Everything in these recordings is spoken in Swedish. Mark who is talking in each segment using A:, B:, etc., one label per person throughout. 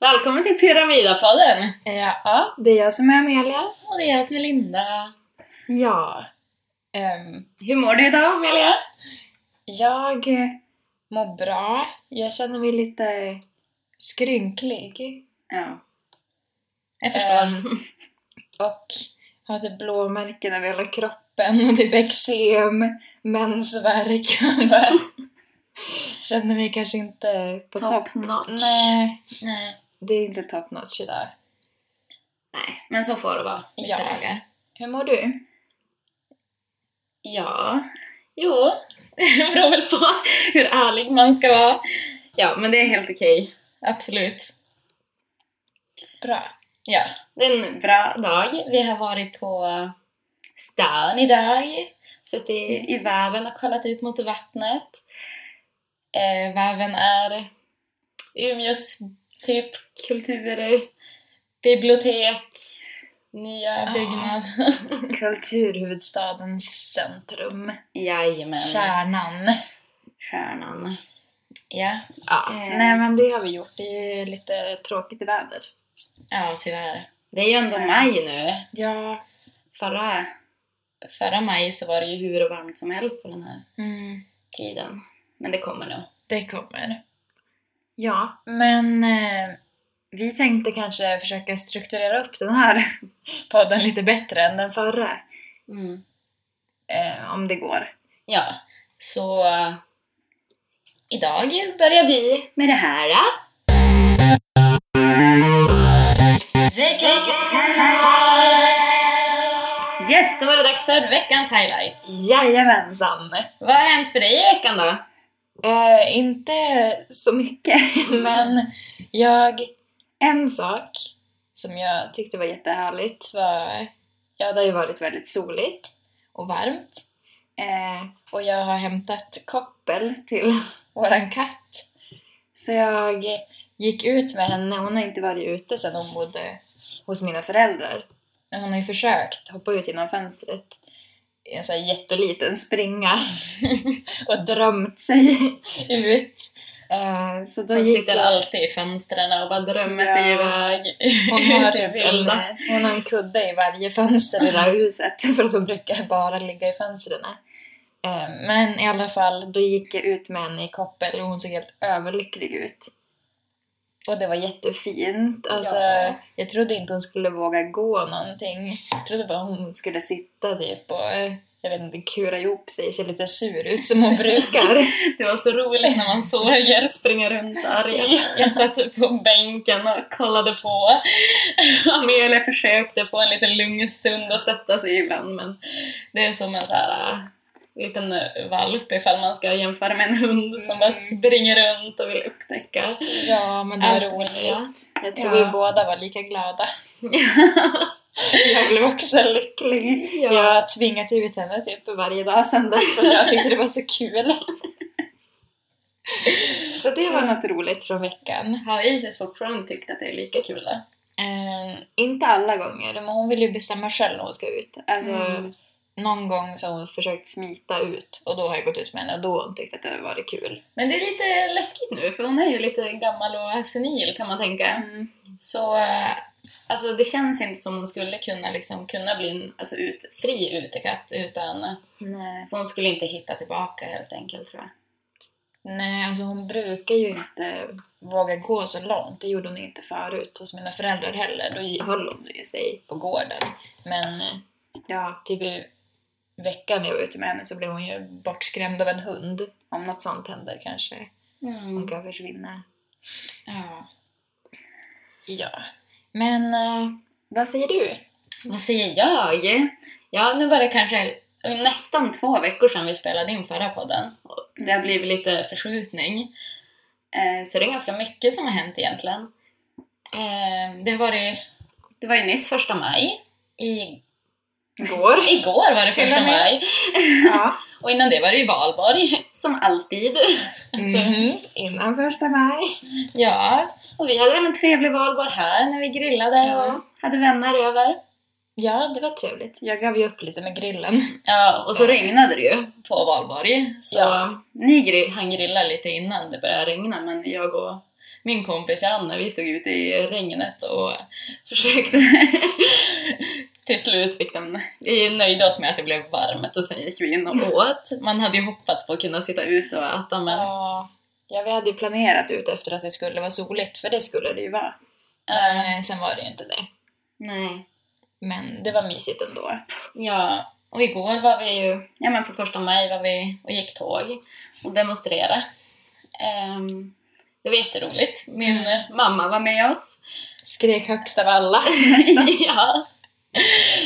A: Välkommen till Pyramidapodden!
B: Ja, Eh, ja, det är jag som är Amelia.
A: Och det är jag som är Linda.
B: Ja. Ehm,
A: Hur mår du idag Amelia?
B: jag eh, mår bra. Jag känner mig lite skrynklig.
A: Ja. Jag förstår.
B: Ehm, och har typ blåmärken över hela kroppen och typ eksem, mensvärk. känner mig kanske inte på topp.
A: notch. Nej.
B: Nej,
A: Nej.
B: det är inte top notch idag.
A: Nej. Men så får det vara vissa
B: Ja.
A: dagar.
B: Hur mår du?
A: Ja. Jo. Det beror väl på hur ärlig man ska vara. Ja, men det är helt okej. Absolut.
B: Bra.
A: Ja. Det är en bra dag. Vi har varit på stan idag. Suttit i, i väven och kollat ut mot vattnet. Eh, väven är Umeås typ kulturbibliotek, nya
B: Ja.
A: byggnad.
B: Kulturhuvudstadens centrum.
A: Jajamän.
B: Kärnan.
A: Stjärnan. Ja.
B: Ja,
A: Eh.
B: nej men det har vi gjort. Det är ju lite tråkigt väder.
A: ja, tyvärr. Det är ju ändå maj nu.
B: Ja.
A: Förra, förra maj så var det ju hur varmt som helst på den här
B: Mm,
A: tiden. Men det kommer nog.
B: det kommer. Ja, men eh, vi tänkte kanske försöka strukturera upp den här podden lite bättre än den förra. Mm. Eh, om det går.
A: Ja, så eh, idag börjar vi med det här. eh. Veckans highlights! Yes, då var det dags för veckans highlights.
B: Jajamensan!
A: Vad har hänt för dig i veckan då?
B: Eh, inte så mycket, men jag... En sak som jag tyckte var jättehärligt var... Ja, det har ju varit väldigt soligt och varmt. Eh, och jag har hämtat koppel till våran katt. Så jag gick ut med henne. Hon har inte varit ute sedan hon bodde hos mina föräldrar. Men hon har ju försökt hoppa ut genom fönstret i en sån här jätteliten springa och drömt sig ut. Eh, så då
A: Hon
B: gick
A: sitter
B: jag-
A: alltid i fönstren och bara drömmer
B: Ja.
A: sig iväg.
B: Hon har,
A: ut i
B: typ en,
A: vilda.
B: hon har en kudde i varje fönster i det här huset för att hon brukar bara ligga i fönstren. Eh, Men i alla fall, då gick jag ut med henne i koppel och hon såg helt överlycklig ut. Och det var jättefint. Alltså,
A: Ja.
B: Jag trodde inte hon skulle våga gå någonting. Jag trodde bara hon skulle sitta typ och eh, jag vet inte, kura ihop sig, se lite sur ut som hon brukar.
A: Det var så roligt när man såg er springa runt arg. Jag- Jag satt på bänken och kollade på. Amelia försökte få en liten lugn stund och sätta sig ibland men det är som en så här äh, liten valp ifall man ska jämföra med en hund som bara springer runt och vill upptäcka
B: ja, men Mm. det
A: allt
B: var roligt.
A: roligt.
B: Jag tror
A: Ja.
B: vi båda var lika glada. jag blev också lycklig.
A: Ja.
B: Jag har tvingat ut henne typ varje dag sedan dess för jag tyckte det var så kul. så det var något roligt från veckan.
A: Har Isis fortfarande tyckt att det är lika kul då?
B: Eh, inte alla gånger, men hon vill ju bestämma själv när hon ska ut. Alltså,
A: Mm.
B: Någon gång så har hon försökt smita ut och då har jag gått ut med henne och då har hon tyckt att det var kul.
A: Men det är lite läskigt nu för hon är ju lite gammal och senil kan man tänka. Så eh, alltså det känns inte som hon skulle kunna, liksom, kunna bli en alltså, ut, fri utekatt utan
B: Nej.
A: för hon skulle inte hitta tillbaka helt enkelt tror jag.
B: Nej, alltså hon brukar ju inte våga gå så långt. Det gjorde hon ju inte förut hos mina föräldrar heller. Då höll hon ju sig på gården. Men eh, ja, typ i veckan när jag var ute med henne så blev hon ju bortskrämd av en hund. Om något sånt händer kanske hon kan försvinna.
A: Ja.
B: Ja. Men eh, vad säger du?
A: Vad säger jag? Ja, nu var det kanske nästan två veckor sedan vi spelade in förra podden. Och Det har blivit lite förskjutning. Eh, Så det är ganska mycket som har hänt egentligen. Eh, Det har varit... Det var ju nyss första maj. I,
B: Går?
A: igår var det
B: Till
A: första
B: och med.
A: maj.
B: ja.
A: Och innan det var det ju valborg, som alltid. Så,
B: Mhm. Innan första maj.
A: ja, och vi hade väl en trevlig valborg här när vi grillade
B: Ja.
A: och hade vänner över.
B: Ja, det var trevligt. Jag gav ju upp lite med grillen.
A: Ja, och så regnade det ju på valborg. Så
B: Ja.
A: ni gri- han grillade lite innan det började regna, men jag och min kompis Anna, vi stod ute i regnet och försökte. Till slut fick de, vi nöjde oss med att det blev varmt och sen gick vi in och åt. Man hade ju hoppats på att kunna sitta ute och äta men
B: Ja, ja, vi hade ju planerat ut efter att det skulle vara soligt, för det skulle det ju vara.
A: eh,
B: Men sen var det ju inte det.
A: nej.
B: Men det var mysigt ändå.
A: Ja, och igår var vi ju, ja men på första maj var vi och gick tåg och demonstrerade. Ehm, det var jätteroligt. Min
B: Mm.
A: eh, mamma var med oss.
B: Skrek högst av alla.
A: ja.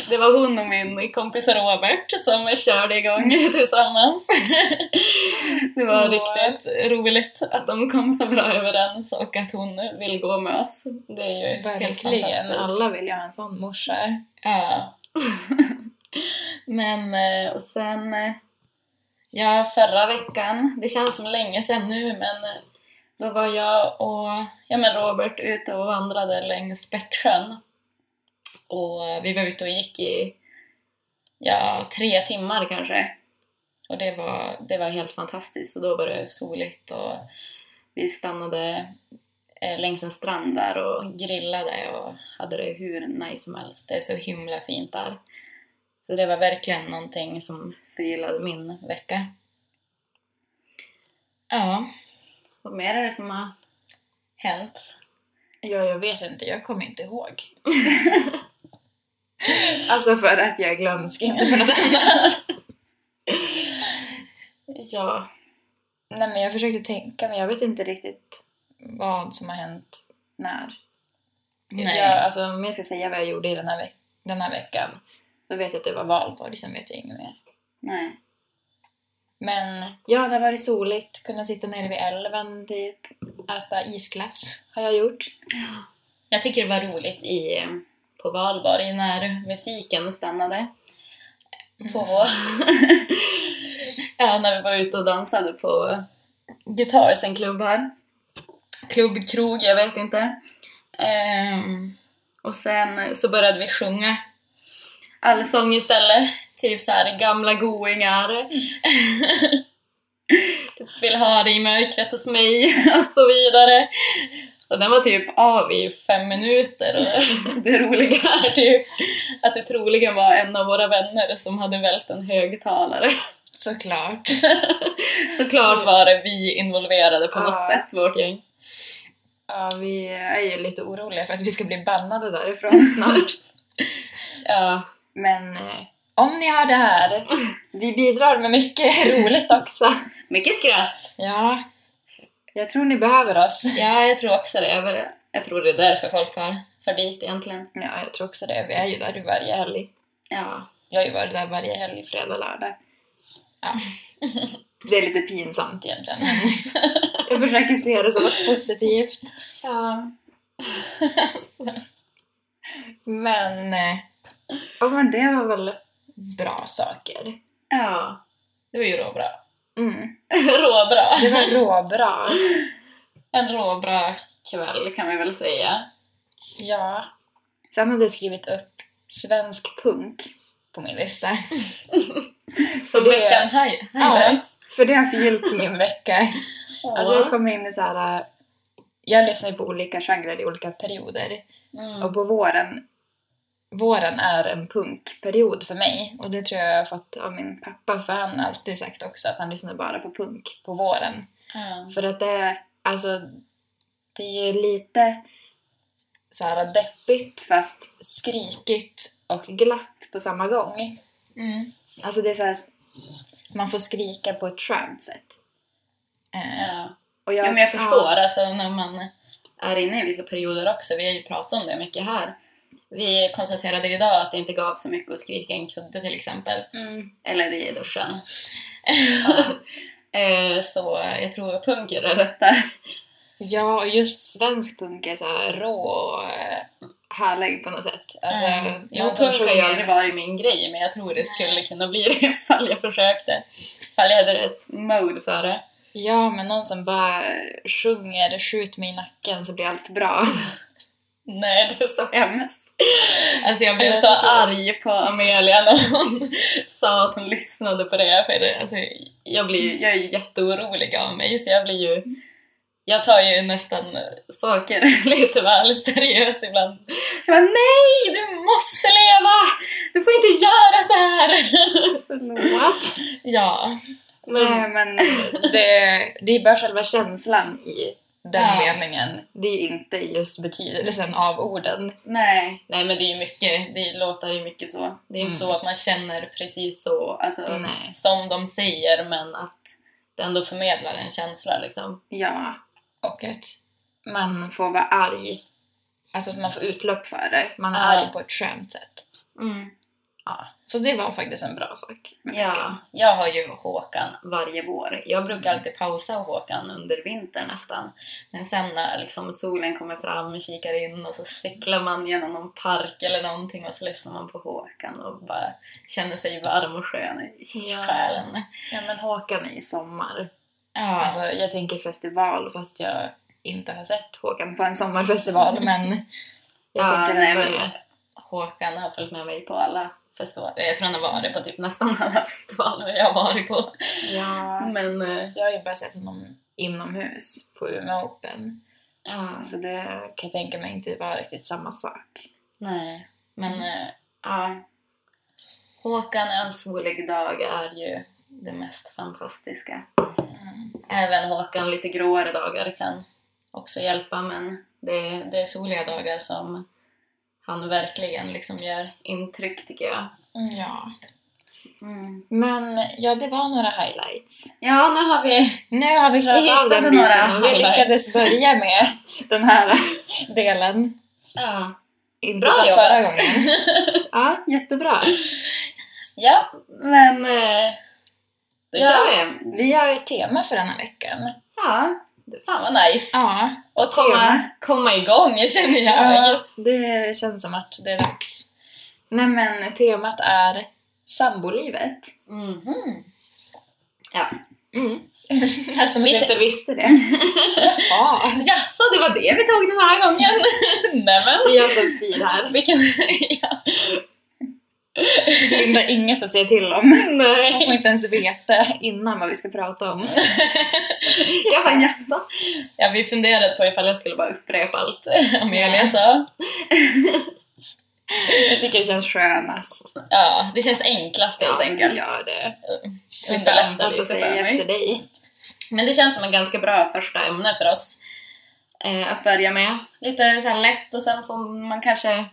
A: Det var hon och min kompis Robert som körde igång tillsammans. Det var
B: Mm. Åh.
A: riktigt roligt att de kom så bra överens och att hon vill gå med oss. Det är ju helt
B: Verkligen.
A: fantastiskt.
B: Alla vill ju ha en sån morsa.
A: Ja. Men, eh, och sen... eh, Ja, förra veckan, det känns som länge sedan nu, men eh, då var jag och ja, men Robert ute och vandrade längs Bäcksjön. Och eh, vi var ute och gick i ja, tre timmar kanske. Och det var, det var helt fantastiskt och då var det soligt och vi stannade eh, längs en strand där och grillade och hade det hur nice som helst. Det är så himla fint där. Så det var verkligen någonting som förgyllade min vecka. Ja, vad mer är det som har hänt?
B: Ja, jag vet inte. Jag kommer inte ihåg. alltså för att jag är glömsk, inte för något annat.
A: Ja,
B: Nej, men jag försökte tänka, men jag vet inte riktigt vad som har hänt när.
A: nej.
B: Jag, alltså, om jag ska säga vad jag gjorde i den här, veck- den här veckan, då vet jag att det var valborg, sen vet jag inget mer.
A: nej.
B: Men ja, det har varit soligt, kunna sitta nere vid älven, typ. Äta isglass har jag gjort.
A: Jag tycker det var roligt i, på valborg när musiken stannade. På, ja, när vi var ute och dansade på gitarr sen klubb här. Klubb, krog, jag vet inte. Ehm, och sen så började vi sjunga allsång istället. Typ så här gamla goingar. Du vill ha det i mörkret hos mig och så vidare. Och den var typ av i fem minuter och det roliga är typ att det troligen var en av våra vänner som hade vält en högtalare.
B: Såklart.
A: Såklart var det vi involverade på något
B: Ja.
A: sätt, vårt gäng.
B: Ja, vi är ju lite oroliga för att vi ska bli bannade därifrån snart.
A: Ja,
B: Men eh, om ni har det här, vi bidrar med mycket roligt också.
A: mycket skratt!
B: Ja, jag tror ni behöver oss.
A: Ja, jag tror också det. Jag- Jag tror det är därför folk far, far dit egentligen.
B: Ja, jag tror också det. Vi är ju där varje helg.
A: Ja.
B: Jag har ju varit där varje helg, fredag, lördag. Ja. Det är lite pinsamt egentligen. Jag försöker se det som något positivt.
A: Ja.
B: Men... eh, Ja, men det var väl bra saker.
A: ja. Det var ju råbra.
B: Mm.
A: råbra!
B: Det var råbra.
A: En råbra kväll kan vi väl säga.
B: Ja. Sen hade jag skrivit upp svensk punk på min lista.
A: Som
B: Det-
A: veckan hi- highlights.
B: För det har förgyllt min vecka.
A: Ja.
B: Alltså jag kom in i så här. äh, Jag lyssnar ju på olika genrer i olika perioder.
A: Mm.
B: Och på våren, våren är en punkperiod för mig. Och det tror jag jag har fått av min pappa, för han har alltid sagt också att han lyssnar bara på punk på våren.
A: Ja.
B: För att det, alltså, det är ju lite så här deppigt fast skrikigt och glatt på samma gång.
A: Mm.
B: Alltså det är så här, man får skrika på ett skönt sätt. Eh,
A: Ja.
B: och
A: Ja, men jag förstår,
B: Ja,
A: alltså när man är inne i vissa perioder också, vi har ju pratat om det mycket här. Vi konstaterade idag att det inte gav så mycket att skrika i en kudde till exempel,
B: mm,
A: eller i duschen. Eh, så jag tror punker är rätt där.
B: ja och just svensk punk är så här rå och eh, härlig på något sätt. Alltså,
A: Mm. Jo,
B: någon som
A: punk har ju
B: sjunger-
A: aldrig varit min grej, men jag tror det skulle kunna bli det ifall jag försökte. Ifall jag hade rätt mode för det.
B: Ja, men någon som bara sjunger “skjut mig i nacken så blir allt bra”.
A: Nej, det sa jag mest. Alltså jag blev
B: Jag
A: så
B: tycker-
A: arg på Amelia när hon sa att hon lyssnade på det. För det alltså, jag, blir, jag är jätteorolig av mig, så jag blir ju Jag tar ju nästan saker lite väl seriöst ibland. Så jag bara, nej! Du måste leva! Du får inte göra så här!
B: Förlåt.
A: Ja.
B: Nej, men det, det är bara själva känslan i den
A: Ja.
B: meningen. Det är inte just betydelsen av orden.
A: Nej. Nej men det är ju mycket, det låter ju mycket så. Det är ju
B: Mm.
A: så att man känner precis så, alltså
B: Nej.
A: som de säger men att det ändå förmedlar en känsla liksom.
B: Ja, och att man får vara arg. Alltså att man får utlopp för det. Man är
A: Ja.
B: arg på ett skönt sätt. Mm. Ja. Så det var faktiskt en bra sak. med
A: Ja,
B: veckan.
A: jag har ju Håkan varje vår. Jag
B: Mm.
A: brukar alltid pausa Håkan under vintern nästan. Men sen när liksom solen kommer fram, kikar in och så cyklar man genom någon park eller någonting och så lyssnar man på Håkan och bara känner sig varm och skön i
B: Ja.
A: själen.
B: ja, men Håkan är i sommar.
A: Ja.
B: Alltså, jag tänker festival fast jag inte har sett Håkan på en sommarfestival. Men jag
A: ja,
B: tänker
A: nej,
B: nej,
A: men Håkan har följt med mig på alla festivaler. Jag tror han har varit på typ nästan alla festivaler jag har varit på.
B: ja.
A: Men eh,
B: Jag har ju bara sett honom inomhus på Umeå Open.
A: ja,
B: Så det kan jag tänka mig inte var riktigt samma sak.
A: nej. Men eh, ja. Håkan en solig dag är ju det mest fantastiska.
B: Mm.
A: Även Håkan lite gråare dagar kan också hjälpa men det, det är soliga dagar som han verkligen liksom gör intryck tycker jag.
B: Ja. Men ja, det var några highlights.
A: Mm. Ja, nu har vi...
B: Nu har vi
A: Vi
B: klarat av
A: hittade
B: den
A: några
B: biten och vi
A: highlights.
B: lyckades börja med den här delen.
A: Ja.
B: Inte
A: Bra
B: som
A: jobbat.
B: förra gången. Ja, jättebra.
A: Ja, men... eh, Då
B: Ja.
A: kör vi!
B: Vi har ett tema för den här veckan.
A: Ja, det- fan vad nice!
B: Ja,
A: Och komma,
B: trevligt.
A: komma igång känner jag!
B: ja, det känns som att det är dags. Nej men temat är sambolivet.
A: Mhm. Alltså,
B: Ja. Mm. Eftersom
A: Vi
B: vi
A: te-
B: inte visste det. Jaha.
A: Jaså, det var det vi tog den här gången? Nämen!
B: Det är jag som styr här.
A: Vilken... ja.
B: Linda har inget att säga till om.
A: Nej!
B: Hon får inte ens veta innan vad vi ska prata om.
A: Jag bara jaså? Ja, vi funderade på ifall jag skulle bara upprepa allt Amelia sa.
B: Jag tycker det känns skönast.
A: Ja, det känns enklast helt enkelt.
B: Gör det.
A: Så
B: Så inte
A: underlättar
B: anpassa
A: lite
B: sig
A: för mig.
B: efter dig.
A: Men det känns som en ganska bra första ämne för oss eh, att börja med. Lite så här lätt och sen får man kanske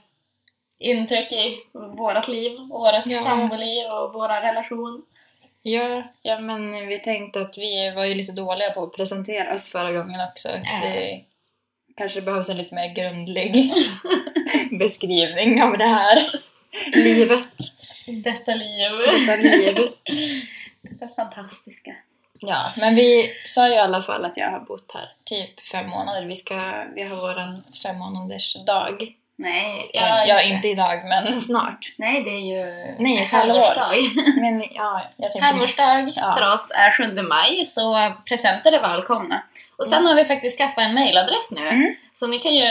A: intryck i vårt liv, vårt
B: Ja.
A: samboliv och vår relation.
B: Ja, ja, men vi tänkte att vi var ju lite dåliga på att presentera oss förra gången också. Det kanske behövs en lite mer grundlig beskrivning av det här livet.
A: Detta liv.
B: Detta liv.
A: Detta fantastiska.
B: Ja, men vi sa ju i alla fall att jag har bott här typ fem månader. Vi, ska, vi har våran fem månaders dag.
A: Nej,
B: Ja,
A: just det.
B: inte idag, men snart.
A: Nej, det är ju
B: Nej,
A: en
B: halvår.
A: halvårsdag.
B: Men ja, jag tänkte...
A: Halvårsdag
B: Ja.
A: för oss är 7 maj, så presenter är välkomna. Och sen har vi faktiskt skaffat en mailadress nu,
B: Mm.
A: så ni kan ju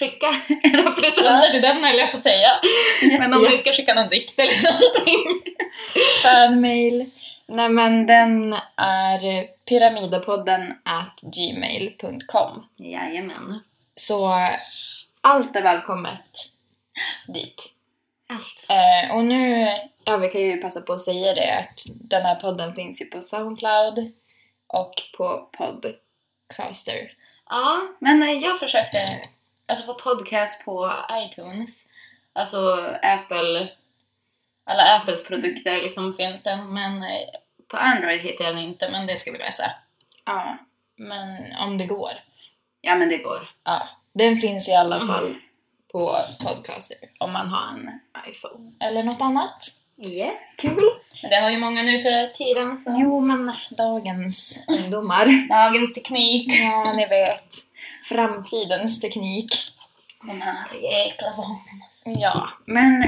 A: skicka era presenter till den höll jag på att säga. Men om ni ska skicka någon dikt eller någonting.
B: fanmail. Nej men den är pyramidapodden at gmail.com.
A: Jajamän.
B: Så allt är välkommet dit.
A: Allt.
B: Eh, och nu, ja vi kan ju passa på att säga det att den här podden finns ju på Soundcloud och på Podcaster.
A: Ja, men eh, jag försökte, alltså på podcast på iTunes, alltså Apple, alla Apples produkter liksom finns den, men eh, på Android hittar jag den inte, men det ska vi lösa.
B: Ja, men om det går.
A: Ja, men det går.
B: Ja, den finns i alla fall på Podcaster om man har en iPhone eller något annat.
A: Yes.
B: Kul!
A: Men det har ju många nu för tiden så...
B: Jo, men dagens ungdomar.
A: Dagens teknik.
B: Ja, ni vet. Framtidens teknik.
A: De här jäkla barnen alltså.
B: Ja, men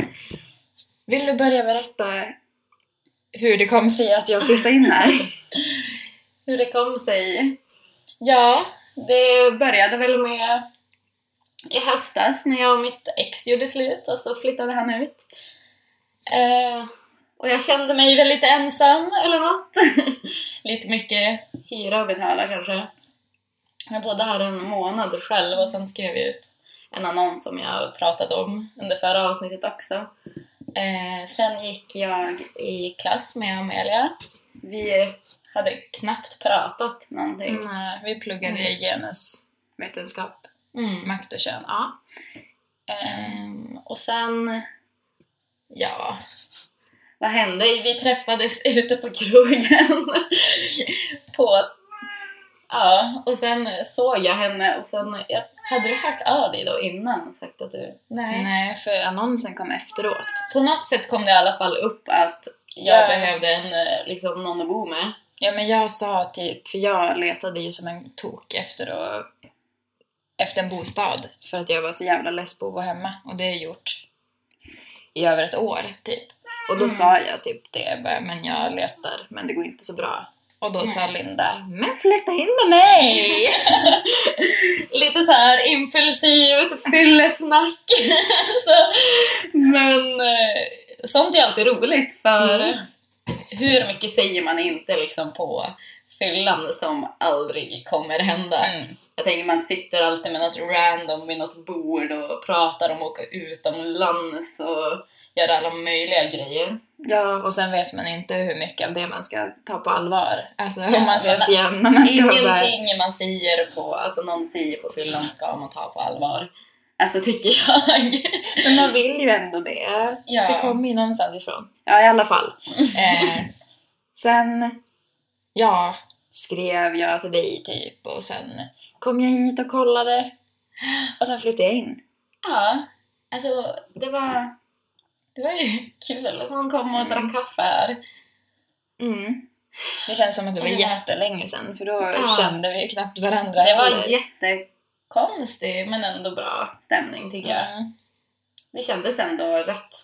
B: vill du börja berätta hur det kom sig att jag flyttade in här?
A: Hur det kom sig? Ja, det började väl med i höstas när jag och mitt ex gjorde slut och så flyttade han ut. Eh, och jag kände mig väl lite ensam eller något. lite mycket hyra att betala kanske. Jag bodde här en månad själv och sen skrev jag ut en annons som jag pratade om under förra avsnittet också. Eh, sen gick jag i klass med Amelia. Vi hade knappt pratat någonting.
B: Nej, Mm, eh, vi pluggade i genusvetenskap,
A: Mm.
B: makt och kön. Ja. Eh,
A: Ehm, och sen... Ja... Vad hände? Vi träffades ute på krogen. på... Ja, och sen såg jag henne och sen... Jag, hade du hört av dig då innan och sagt att du...
B: Nej, för annonsen kom efteråt.
A: På något sätt kom det i alla fall upp att jag
B: Ja.
A: behövde en, eh, liksom, någon att bo med.
B: Ja, men jag sa typ, för jag letade ju som en tok efter, att, efter en bostad för att jag var så jävla less på att vara hemma och det har jag gjort i över ett år typ. Och då
A: Mm.
B: sa jag typ det, jag bara, men jag letar men det går inte så bra. Och då sa Linda, men flytta in med mig!
A: Lite så här impulsivt, fyllesnack. så, men eh, sånt är alltid roligt för
B: Mm.
A: hur mycket säger man inte liksom på fyllan som aldrig kommer hända.
B: Mm.
A: Jag tänker man sitter alltid med något random vid något bord och pratar om att åka utomlands och göra alla möjliga grejer.
B: Ja, och sen vet man inte hur mycket av det man ska ta på allvar. Alltså
A: Ja,
B: om man ses
A: men-
B: igen när man ska vara där.
A: Ingenting man säger på, alltså någon säger på fyllan ska man ta på allvar. Alltså tycker jag.
B: Men man vill ju ändå det.
A: Ja.
B: Det kommer ju någonstans ifrån. Ja, i alla fall. Eh, sen, ja, skrev jag till dig typ och sen kom jag hit och kollade. Och sen flyttade jag in.
A: Ja, alltså det var, det var ju kul. Hon kom och drack kaffe här.
B: Mm. Det känns som att det var
A: Ja.
B: jättelänge sen för då
A: Ja.
B: kände vi ju knappt varandra.
A: Det var
B: heller.
A: jättekonstig men ändå bra stämning tycker jag.
B: Mm.
A: Det kändes ändå rätt.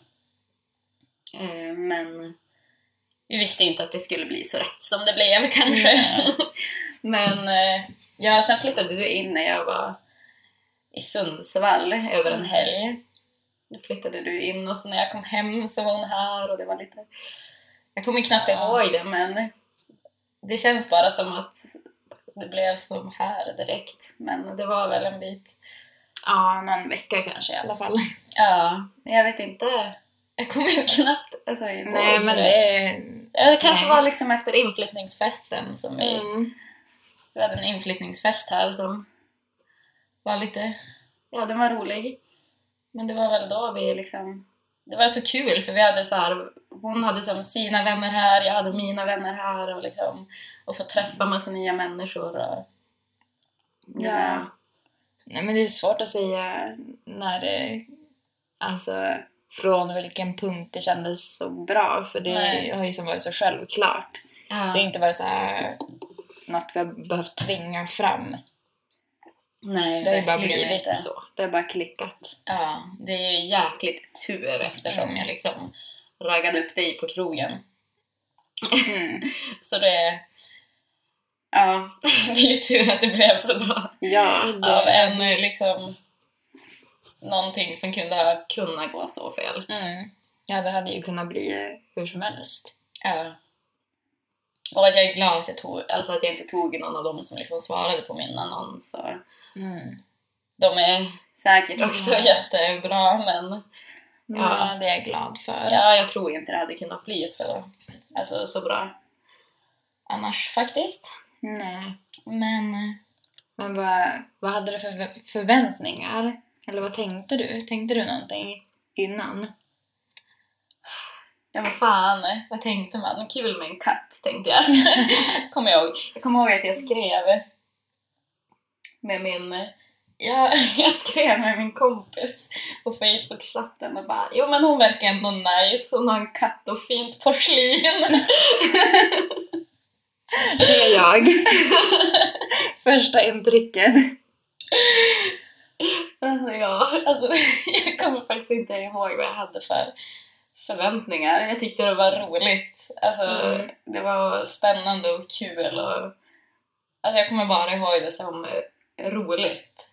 A: Eh, Men vi visste inte att det skulle bli så rätt som det blev kanske. Men eh, ja, sen flyttade du in när jag var i Sundsvall över en helg. Då flyttade du in och så när jag kom hem så var hon här och det var lite... Jag kommer knappt
B: Ja.
A: ihåg det men det känns bara som att det blev som här direkt. Men det var väl en bit
B: Ja, någon vecka kanske i alla fall.
A: Ja, men jag vet inte. Jag kommer knappt alltså, ihåg
B: Nej, men det...
A: Ja, Det kanske
B: Nej.
A: var liksom efter inflyttningsfesten som vi...
B: Mm.
A: Vi hade en inflyttningsfest här som var lite... Ja, den var rolig. Men det var väl då vi liksom... Det var så kul för vi hade så här... Hon hade som sina vänner här, jag hade mina vänner här och liksom... Och få träffa massa nya människor och...
B: Ja. Nej, men det är svårt att säga när det... Alltså, från vilken punkt det kändes så bra. För det
A: Nej.
B: har ju som varit så självklart.
A: Ja.
B: Det har inte varit så här något vi har behövt tvinga fram.
A: Nej,
B: Det har ju bara
A: verkligen
B: blivit
A: inte.
B: så. Det har bara klickat.
A: Ja, det är ju jäkligt tur eftersom jag liksom raggade upp dig på krogen.
B: Mm.
A: Så det... Ja, det är ju tur att det blev så bra.
B: Ja,
A: Av
B: det...
A: en eh, liksom... Någonting som kunde ha kunnat gå så fel.
B: Mm. ja, det hade ju kunnat bli hur som helst.
A: Ja. Och att jag är glad att jag, tog, alltså att jag inte tog någon av dem som liksom svarade på min annons. Och
B: Mm.
A: de är säkert också
B: Mm.
A: jättebra men
B: Ja, det är jag glad för.
A: ja, jag tror inte det hade kunnat bli så, alltså, så bra annars faktiskt.
B: Nej.
A: Men eh,
B: Men vad, vad hade du för förväntningar? Eller vad tänkte du? Tänkte du någonting innan?
A: Ja men fan, vad tänkte man? Kul med en katt tänkte jag. kommer jag ihåg. Jag kommer ihåg att jag skrev med min... Jag, jag skrev med min kompis på Facebook-chatten och bara Jo men hon verkar ändå nice, hon har en katt och fint porslin.
B: Det är jag. Första intrycket.
A: Alltså ja, alltså, jag kommer faktiskt inte ihåg vad jag hade för förväntningar. Jag tyckte det var roligt. Alltså,
B: Mm.
A: Det var spännande och kul. Och, alltså, jag kommer bara ihåg det som eh, roligt.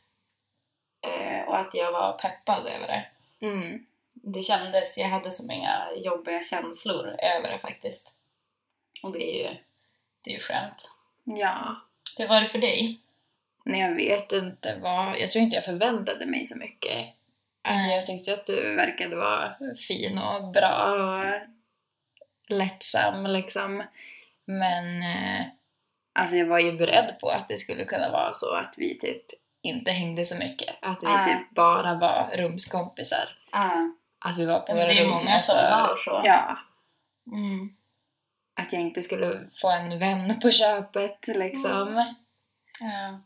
A: Eh, och att jag var peppad över det.
B: Mm.
A: Det kändes, jag hade som inga jobbiga känslor över det faktiskt. Och det är ju, det är ju skönt.
B: Ja.
A: Hur var det för dig?
B: Men jag vet inte vad... Jag tror inte jag förväntade mig så mycket. Alltså
A: Nej.
B: jag tyckte att du verkade vara fin och bra och lättsam liksom. Men eh, alltså jag var ju beredd på att det skulle kunna vara så att vi typ inte hängde så mycket. Att vi
A: Ah.
B: typ bara var rumskompisar.
A: Ja.
B: Att vi Ah. var på
A: Men det
B: våra
A: är ju
B: rum,
A: många
B: alltså,
A: som var så.
B: Ja,
A: Mm.
B: att jag inte skulle få en vän på köpet liksom.
A: Ja.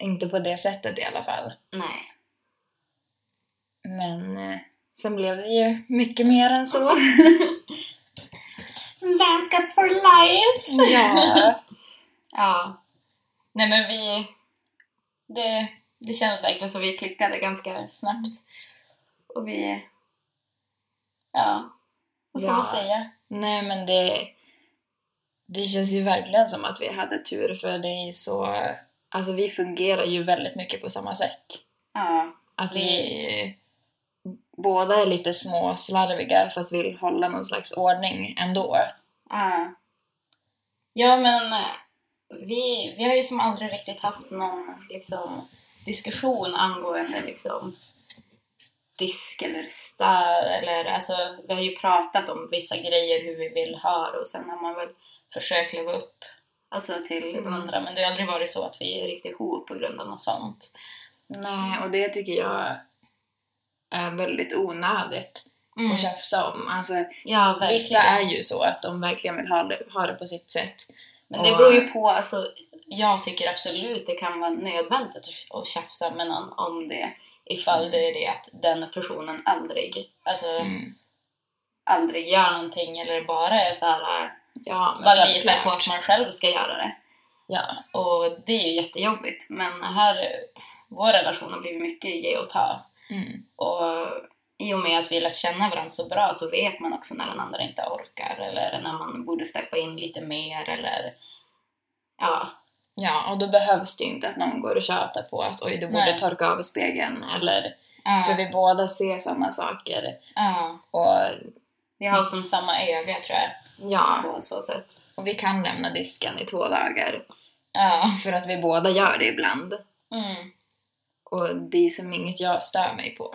B: Inte på det sättet i alla fall.
A: Nej.
B: Men eh, sen blev det ju mycket mer än så.
A: Vänskap for life!
B: ja.
A: Ja. Nej men vi... Det, det känns verkligen som vi klickade ganska snabbt. Och vi... Ja. Vad ska
B: Ja.
A: man säga?
B: Nej men det, det känns ju verkligen som att vi hade tur för det är ju så, alltså vi fungerar ju väldigt mycket på samma sätt.
A: Ja.
B: Att vi båda är lite småslarviga fast vill hålla någon slags ordning ändå.
A: Ja. Ah. Ja men eh, vi, vi har ju som aldrig riktigt haft någon liksom, diskussion angående liksom, disk eller städ eller alltså vi har ju pratat om vissa grejer hur vi vill ha det och sen har man väl försökt leva upp alltså, till
B: Mm.
A: varandra men det har aldrig varit så att vi är riktigt ihop på grund av något sånt.
B: Nej, och det tycker jag är väldigt onödigt att tjafsa om. Alltså,
A: Ja Mm. verkligen.
B: Mm. vissa är ju så att de verkligen vill ha det, ha det på sitt sätt.
A: Men det
B: Och-
A: beror ju på, alltså, jag tycker absolut det kan vara nödvändigt att- att tjafsa med någon om det ifall det är det att den personen aldrig, alltså,
B: Mm.
A: aldrig gör någonting eller bara är så här äh,
B: Ja, men
A: bara litar på
B: självklart.
A: att man själv ska göra det.
B: Ja,
A: Och det är ju jättejobbigt men här, vår relation har blivit mycket ge och ta
B: mm.
A: och i och med att vi lärt känna varandra så bra så vet man också när den andra inte orkar eller när man borde steppa in lite mer eller ja,
B: ja, och då behövs det ju inte att någon går och tjatar på att oj, du borde
A: Nej.
B: torka av spegeln eller
A: ja,
B: för vi båda ser samma saker
A: ja.
B: och
A: Vi har som samma öga tror jag,
B: ja,
A: på så sätt.
B: och vi kan lämna disken i två dagar
A: Ja.
B: för att vi båda gör det ibland
A: Mm.
B: och det är som inget jag stör mig på.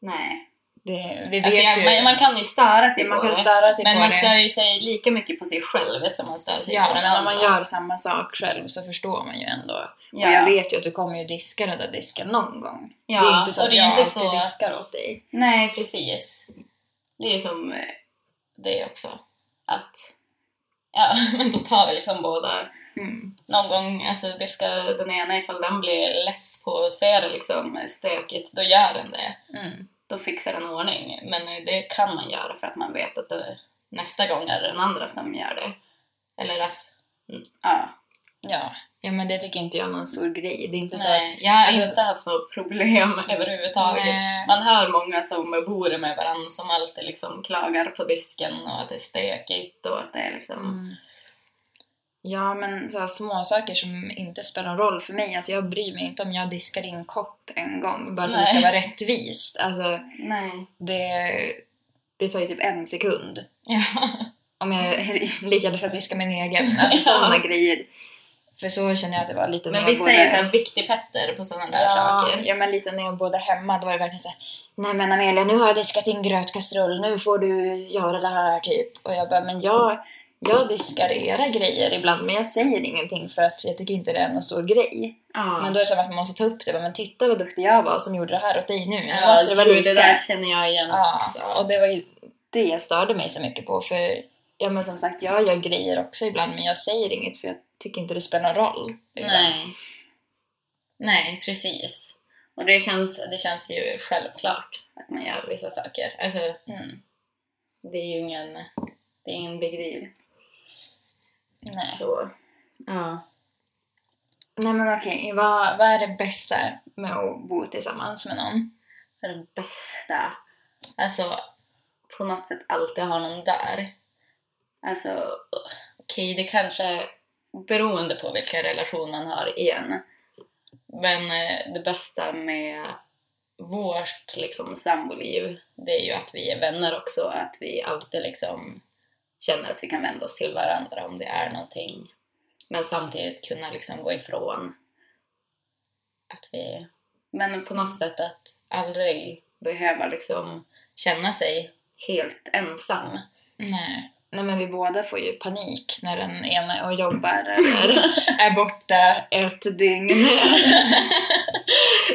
A: Nej.
B: Det, vi vet
A: Alltså, jag,
B: ju,
A: man, man kan ju störa sig
B: man
A: på
B: kan
A: det.
B: störa sig
A: men
B: på
A: man
B: det.
A: stör ju sig lika mycket på sig själv som man stör sig
B: Ja,
A: på
B: men
A: den
B: när
A: andra.
B: man gör samma sak själv så förstår man ju ändå.
A: ja.
B: Och jag vet ju att du kommer ju diska den där disken någon gång.
A: Ja,
B: det är inte så
A: och
B: att
A: det är
B: jag
A: inte
B: alltid
A: så-
B: diskar åt dig.
A: Nej, precis. Det är ju som eh, det också. Att... Ja, men då tar vi liksom båda
B: Mm.
A: någon gång, alltså det ska den ena ifall den blir less på att se det liksom stökigt, då gör den det.
B: Mm.
A: då fixar den ordning. Men eh, det kan man göra för att man vet att det, nästa gång är det den andra som gör det. Eller alltså, mm, ja.
B: Ja, ja men det tycker inte jag är någon stor grej. Det är inte så
A: Nej, jag har
B: alltså-
A: inte haft något problem
B: att...
A: överhuvudtaget.
B: Nej.
A: Man hör många som bor med varandra som alltid liksom klagar på disken och att det är stökigt och att det är liksom...
B: Mm. Ja, men så här, små saker som inte spelar någon roll för mig. Alltså jag bryr mig inte om jag diskar din kopp en gång bara för att det
A: Nej.
B: ska vara rättvist. Alltså
A: Nej.
B: det, det tar ju typ en sekund.
A: Ja.
B: Om jag lyckades att diska min egen. Alltså
A: Ja.
B: sådana grejer. För så känner jag att det var lite
A: Men
B: när jag
A: vissa är
B: bodde-
A: såhär viktigpetter på sådana där
B: Ja,
A: saker.
B: ja, men lite när jag bodde hemma då var det verkligen såhär Nej men Amelia, nu har jag diskat in grötkastrull, nu får du göra det här typ. Och jag bara, men jag, jag diskar era grejer ibland men jag säger ingenting för att jag tycker inte det är någon stor grej.
A: Ja.
B: Men då är det som att man måste ta upp det, bara, men titta vad duktig jag var som gjorde det här åt dig nu. Nu
A: Ja,
B: måste det vara
A: gud,
B: lika.
A: det där känner jag igen
B: Ja,
A: också.
B: och det var ju det jag störde mig så mycket på för ja men som sagt, jag gör grejer också ibland men jag säger inget för jag tycker inte det spelar någon roll. liksom.
A: Nej. Nej, precis. Och det känns, det känns ju självklart att man gör vissa saker. Alltså,
B: Mm.
A: det är ju ingen, det är ingen big deal.
B: Nej.
A: Så. Ja.
B: Nej men okej, vad, vad är det bästa med att bo tillsammans med någon?
A: För det bästa. Alltså, på något sätt alltid ha någon där. Alltså, okej, det kanske beroende på vilka relationer man har igen. Men eh, det bästa med vårt liksom, samboliv, det är ju att vi är vänner också. Att vi alltid liksom känner att vi kan vända oss till varandra om det är någonting. Men samtidigt kunna liksom gå ifrån att vi... Men på något sätt att aldrig behöva liksom känna sig helt ensam.
B: Nej. Nej men vi båda får ju panik när den ena är och jobbar eller är borta ett dygn.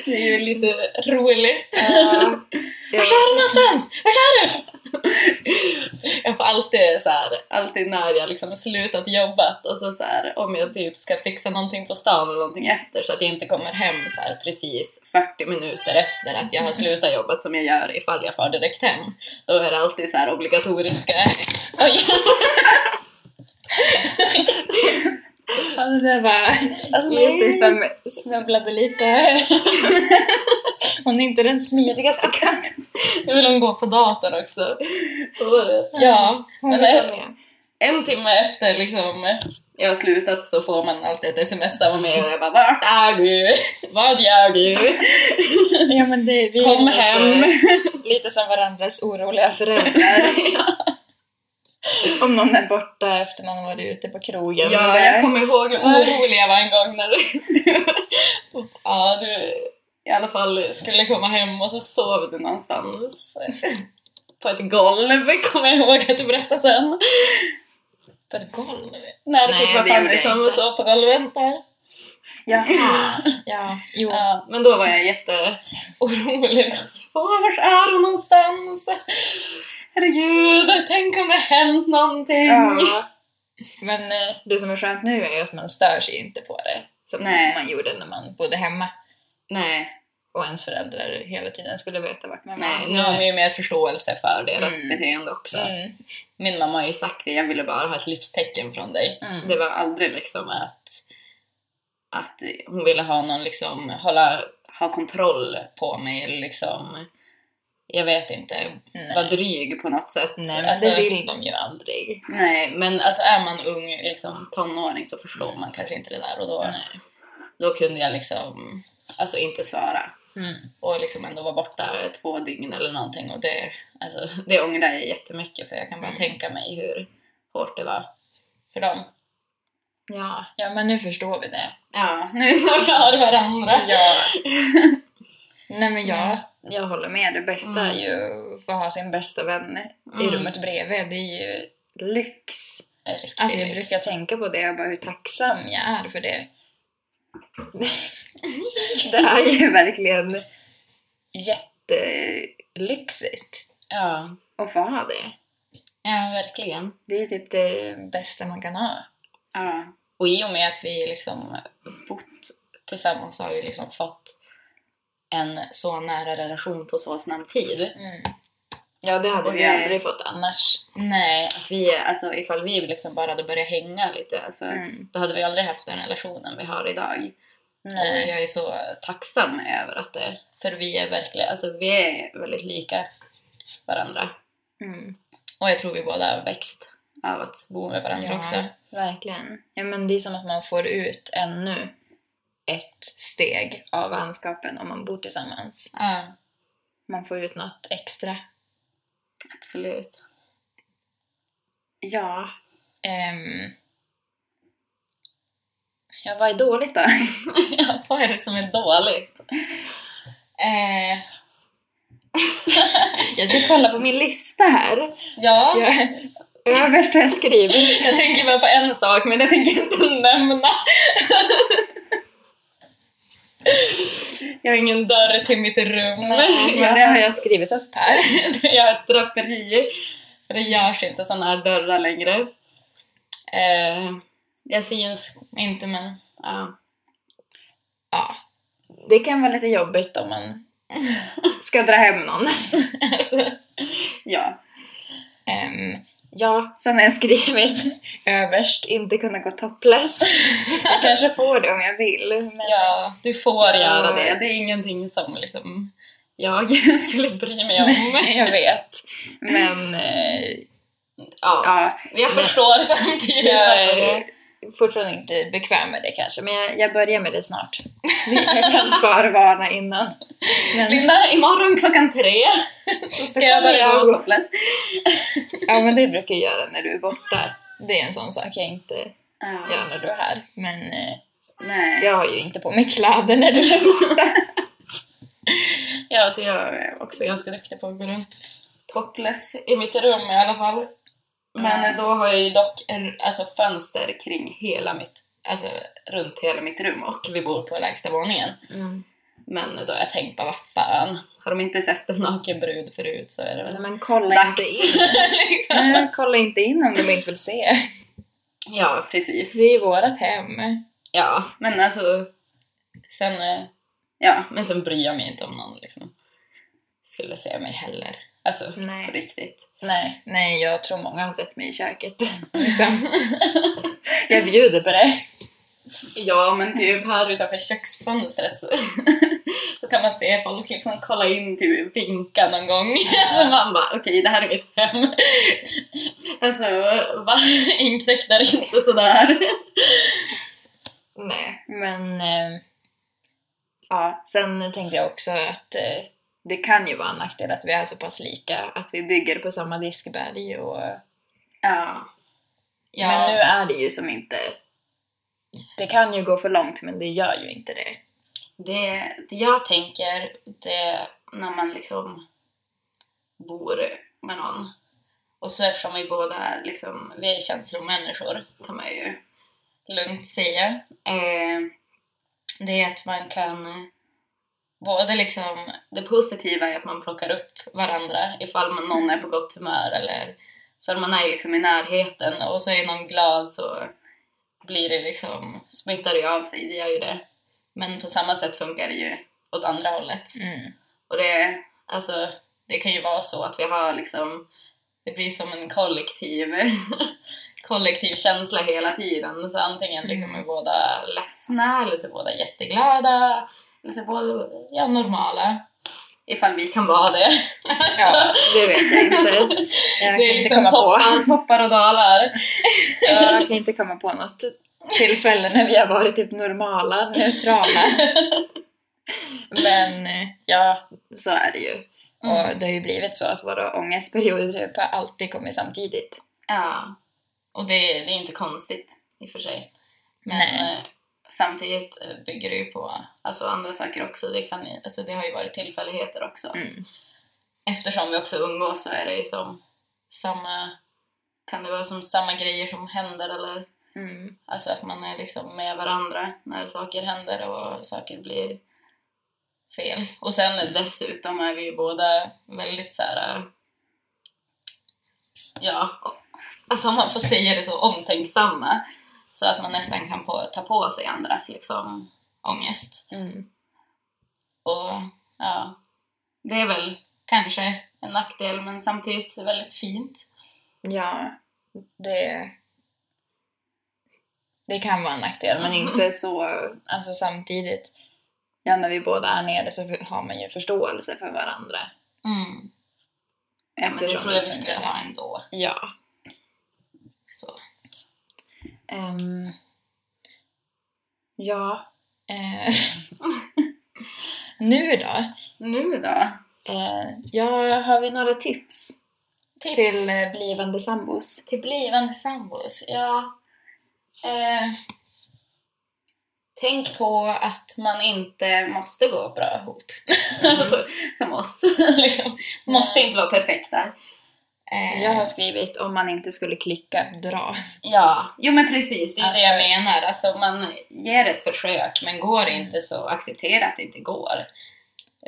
A: Det är ju lite roligt.
B: Ja. Ja.
A: Vart är du någonstans? Vart är du? Jag får alltid så här, alltid när jag liksom har slutat jobbat och så, så här, om jag typ ska fixa någonting på stan eller någonting efter så att jag inte kommer hem så här precis 40 minuter efter att jag har slutat jobbet som jag gör ifall jag far direkt hem. Då är det alltid så här obligatoriska... Oj!
B: Ja, det där var
A: Alltså,
B: Lucy
A: nej.
B: som snubblade lite. Hon är inte den smidigaste katten.
A: Nu vill hon gå på datorn också. Vad var det? Ja.
B: Hon
A: men-
B: är med.
A: en timme efter liksom jag har slutat så får man alltid ett sms av mig och jag bara Vart är du? Vad gör du?
B: Ja, men det, vi är
A: Kom
B: lite-
A: hem!
B: Lite som varandras oroliga föräldrar. Om någon är borta efter man har varit ute på krogen.
A: Ja,
B: Där.
A: jag kommer ihåg hur orolig jag var en gång när du, ja, du i alla fall skulle komma hem och så sov du någonstans på ett golv, kommer jag ihåg att du berättade sen.
B: På ett golv?
A: När det
B: Nej,
A: typ var
B: det gjorde
A: Fanny
B: jag
A: som
B: inte.
A: sov på golvet där.
B: Jaha. Ja, jo.
A: Ja, men då var jag jätteorolig. och så, Åh, vart är hon någonstans? Herregud, tänk om det har hänt någonting.
B: Ja. Men eh, det som är skönt nu är ju att man stör sig inte på det. Som
A: Nej.
B: man gjorde när man bodde hemma
A: Nej,
B: och ens föräldrar hela tiden skulle veta vart man
A: nej,
B: var.
A: nu har man ju mer förståelse för deras
B: Mm.
A: beteende också.
B: Mm.
A: Min mamma har ju sagt det, jag ville bara ha ett livstecken från dig.
B: Mm.
A: Det var aldrig liksom att, att hon ville ha någon liksom, hålla, ha kontroll på mig eller liksom, jag vet inte,
B: Nej.
A: vara dryg på något sätt.
B: Nej, men
A: Alltså,
B: det vill de ju aldrig.
A: Nej, men alltså är man ung liksom, tonåring så förstår man kanske inte det där och då, då kunde jag liksom alltså, inte svara
B: Mm.
A: och liksom ändå vara borta två dygn eller någonting och det, alltså, det ångrar jag jättemycket för jag kan bara
B: Mm.
A: tänka mig hur hårt det var för dem.
B: Ja. ja, men nu förstår vi det.
A: Ja, nu när vi har varandra.
B: Ja. Nej men jag,
A: Mm.
B: jag håller med. Det bästa
A: Mm.
B: är ju att få ha sin bästa vän i
A: Mm.
B: rummet bredvid. Det är ju lyx.
A: Riktig
B: Alltså jag
A: lyx.
B: brukar tänka på det och bara hur tacksam jag är för det. det är ju verkligen jättelyxigt
A: Ja.
B: att få ha det.
A: ja, verkligen.
B: Det är typ det bästa man kan ha.
A: Ja. Och i och med att vi liksom bott tillsammans så har vi liksom fått en så nära relation på så snabb tid.
B: Ja, Mm. det hade
A: Och
B: vi
A: det-
B: aldrig fått annars.
A: Nej, att vi, alltså ifall vi liksom bara hade börjat hänga lite alltså,
B: Mm.
A: då hade vi aldrig haft den relationen vi har idag.
B: Nej.
A: Och jag är så tacksam över att det, för vi är verkligen, alltså vi är väldigt lika varandra.
B: Mm.
A: Och jag tror vi båda har växt av att bo med varandra
B: Ja,
A: också.
B: verkligen. Ja, men det är som att man får ut ännu ett steg av vänskapen om man bor tillsammans.
A: Ja,
B: Man får ut något extra.
A: absolut.
B: Ja. Ehm. Ja, vad är dåligt då?
A: Ja, vad är det som är dåligt? Eh,
B: Jag ska kolla på min lista här.
A: ja,
B: Jag, överst har jag skrivit.
A: jag tänker bara på en sak men jag tänker inte nämna. Jag har ingen dörr till mitt rum.
B: Men det har jag skrivit upp här.
A: jag har ett draperi. För det görs inte sådana här dörrar längre. Eh, jag syns inte men... ja.
B: Ja. Det kan vara lite jobbigt om man ska dra hem någon.
A: Alltså,
B: Ja.
A: Ehm,
B: ja, sen har jag skrivit överst, inte kunna gå topless. Jag kanske får det om jag vill. Men...
A: ja, du får
B: Ja.
A: göra det. Det är ingenting som liksom, jag skulle bry mig om.
B: jag vet. Men eh,
A: ja,
B: ja,
A: jag förstår samtidigt
B: jag
A: varför det-
B: är fortfarande inte bekväm med det kanske. Men jag, jag börjar med det snart. Jag kan förvarna innan. Men,
A: Linda, imorgon klockan tre så ska
B: Då
A: jag
B: kommer
A: börja
B: jag.
A: gå topless.
B: ja, men det brukar jag göra när du är borta. Det är en sån sak jag inte
A: Ja.
B: gör när du är här. Men eh,
A: Nej.
B: Jag har ju inte på mig kläder när du är borta.
A: alltså, Jag tror jag är också ganska duktig på att gå runt topless i mitt rum i alla fall. Men
B: Mm.
A: då har jag ju dock en, alltså fönster kring hela mitt, alltså runt hela mitt rum och vi bor på lägsta våningen. Men då har jag tänkt bara, vad fan, har de inte sett en naken brud förut så är det
B: Nej,
A: väl
B: men kolla inte in.
A: dags. liksom.
B: Nej, kolla inte in om de inte vill se.
A: Ja, precis.
B: Det är ju vårat hem.
A: Ja, men alltså sen, eh, ja, men sen bryr jag mig inte om någon liksom skulle se mig heller. Alltså
B: Nej.
A: på riktigt.
B: Nej, nej, jag tror många har sett mig i köket. Liksom. jag bjuder på det.
A: Ja, men typ här utanför köksfönstret så, så kan man se folk liksom kolla in, typ vinka någon gång. Så man bara okej, det här är mitt hem. Alltså, va? Inkräktar inte sådär.
B: Nej, men... Eh, ja, sen tänkte jag också att eh, det kan ju vara en nackdel att vi är så pass lika, att vi bygger på samma diskberg och...
A: Ja. ja.
B: Men nu är det ju som inte... Det kan ju gå för långt, men det gör ju inte det.
A: Det, det jag tänker, det när man liksom bor med någon och så eftersom vi båda är liksom, vi är känslomänniskor kan man ju lugnt säga. Eh, det är att man kan eh, både liksom, det positiva är att man plockar upp varandra ifall man, någon är på gott humör eller för man är ju liksom i närheten och så är någon glad så blir det liksom, smittar det ju av sig, det gör ju det. Men på samma sätt funkar det ju åt andra hållet.
B: Mm.
A: Och det, alltså, det kan ju vara så att vi har liksom, det blir som en kollektiv, kollektiv känsla hela tiden. Så antingen liksom
B: Mm.
A: är båda ledsna, eller så är båda jätteglada, eller så är båda ja, normala. Ifall vi kan vara det.
B: Ja, det vet jag inte. Jag kan
A: det är
B: inte
A: liksom
B: komma på.
A: toppar, toppar och dalar.
B: Ja, Jag kan inte komma på något tillfälle när vi har varit typ normala, neutrala. Men eh, ja, så är det ju. Och
A: Mm.
B: det har ju blivit så att våra ångestperioder typ alltid kommer samtidigt.
A: Ja. Och det, det är inte konstigt i och för sig. Men
B: Nej.
A: eh, samtidigt eh, bygger det ju på alltså, andra saker också. Det, kan, ju- alltså, det har ju varit tillfälligheter också.
B: Mm.
A: Eftersom vi också umgås så är det ju som samma, kan det vara som samma grejer som händer eller
B: Mm.
A: alltså att man är liksom med varandra när saker händer och saker blir fel. Och sen dessutom är vi ju båda väldigt så här. ja, alltså om man får säga det så, omtänksamma. Så att man nästan kan på, ta på sig andras liksom ångest.
B: Mm.
A: Och ja, det är väl kanske en nackdel men samtidigt väldigt fint.
B: Ja, det... Det kan vara en nackdel, men inte så... Alltså samtidigt, ja när vi båda är nere så har man ju förståelse för varandra.
A: Mm. Ja, men det
B: Eftersom
A: tror jag
B: det
A: vi skulle
B: fungerar.
A: ha ändå.
B: Ja.
A: Så.
B: Ehm, ja. eh, nu då?
A: Nu då?
B: Eh, ja, har vi några tips
A: Tips
B: till
A: till,
B: eh, blivande sambos?
A: till blivande sambos? Ja. Eh, tänk på att man inte måste gå bra ihop. Alltså, Som oss. liksom. Måste inte vara perfekta. Eh,
B: Jag har skrivit om man inte skulle klicka, dra.
A: Ja, jo men precis, det är
B: Alltså-
A: det jag menar. Alltså man ger ett försök, men går
B: Mm.
A: det inte så acceptera att det inte går.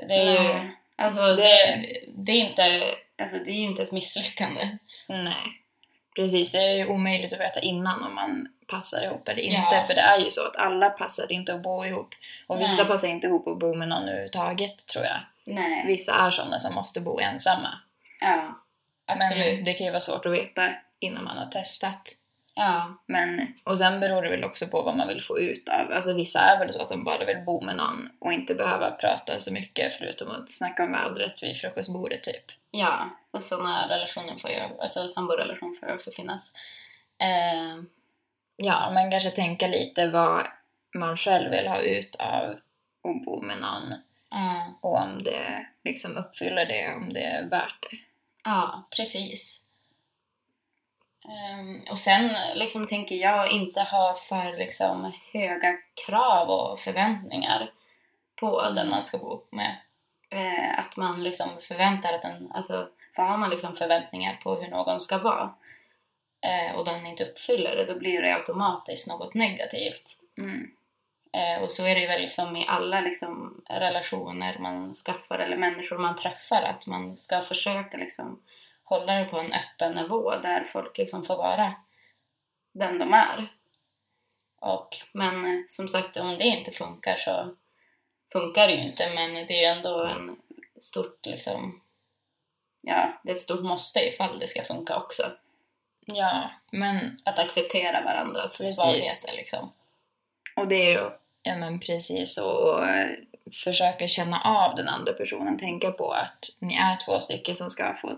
A: Det är ju,
B: Nej.
A: alltså det,
B: Det-
A: det är inte, alltså det är ju inte ett misslyckande.
B: Nej. Precis, det är ju omöjligt att veta innan om man passar ihop eller inte.
A: Ja.
B: För det är ju så att alla passar inte att bo ihop. Och vissa
A: Nej.
B: passar inte ihop att bo med någon överhuvudtaget, tror jag.
A: Nej.
B: Vissa är sådana som måste bo ensamma.
A: Ja. Absolut.
B: Men det kan ju vara svårt att veta innan man har testat.
A: Ja.
B: Men, och sen beror det väl också på vad man vill få ut av. Alltså vissa är väl så att de bara vill bo med någon och inte behöva prata så mycket förutom att snacka om vädret vid frukostbordet typ.
A: Ja. Och sådana relationer får ju, alltså samborelation får ju också finnas. Eh,
B: Ja, men kanske tänka lite vad man själv vill ha ut av att bo med någon
A: ja.
B: och om det liksom uppfyller det, om det är värt det.
A: ja, precis. Ehm, och sen liksom, tänker jag inte ha för liksom, höga krav och förväntningar på den man ska bo med. Eh, att man liksom förväntar att den, alltså, för har man liksom förväntningar på hur någon ska vara eh, och den inte uppfyller det, då blir det automatiskt något negativt.
B: Mm.
A: Eh, och så är det ju väl liksom i alla liksom, relationer man skaffar eller människor man träffar att man ska försöka liksom, hålla det på en öppen nivå där folk liksom, får vara den de är. Och, men eh, som sagt, om det inte funkar så funkar det ju inte men det är ju ändå en stort liksom, ja, det är ett stort måste ifall det ska funka också.
B: Ja, men
A: Att acceptera varandras
B: Precis.
A: svagheter liksom.
B: Och det är ju, ja men precis, och, och eh, försöka känna av den andra personen, tänka på att ni är två stycken som ska få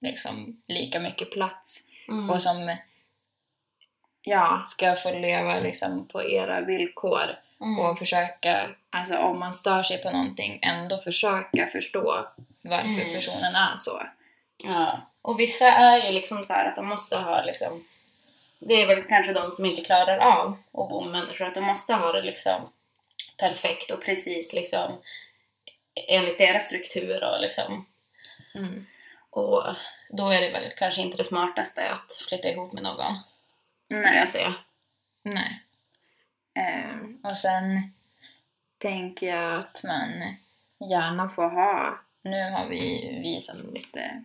B: liksom lika mycket plats
A: Mm.
B: och som ja, ska få leva liksom på era villkor
A: Mm.
B: och försöka, alltså om man stör sig på någonting, ändå försöka förstå varför
A: Mm.
B: personen är så.
A: Ja, och vissa är ju liksom så här att de måste ha liksom det är väl kanske de som inte klarar av att bo med människor, att de måste ha det liksom perfekt och precis liksom enligt deras struktur och liksom och då är det väl kanske inte det smartaste att flytta ihop med någon, skulle
B: Nej.
A: jag säga.
B: Nej. Ehm, och sen tänker jag att man gärna får ha, nu har vi vi som lite